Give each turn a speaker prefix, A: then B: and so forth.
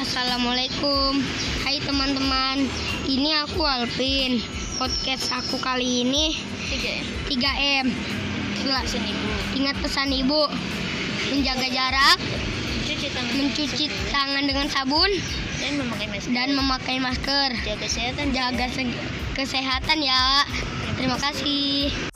A: Assalamualaikum Hai teman-teman Ini aku Alvin Podcast aku kali ini
B: tiga ya
A: 3M Sel-
B: pesan ibu
A: Ingat pesan ibu Menjaga jarak
B: cuci tangan
A: Mencuci
B: sendiri,
A: tangan dengan sabun
B: dan memakai masker
A: Dan memakai masker
B: jaga kesehatan
A: Jaga se- kesehatan ya Terima kasih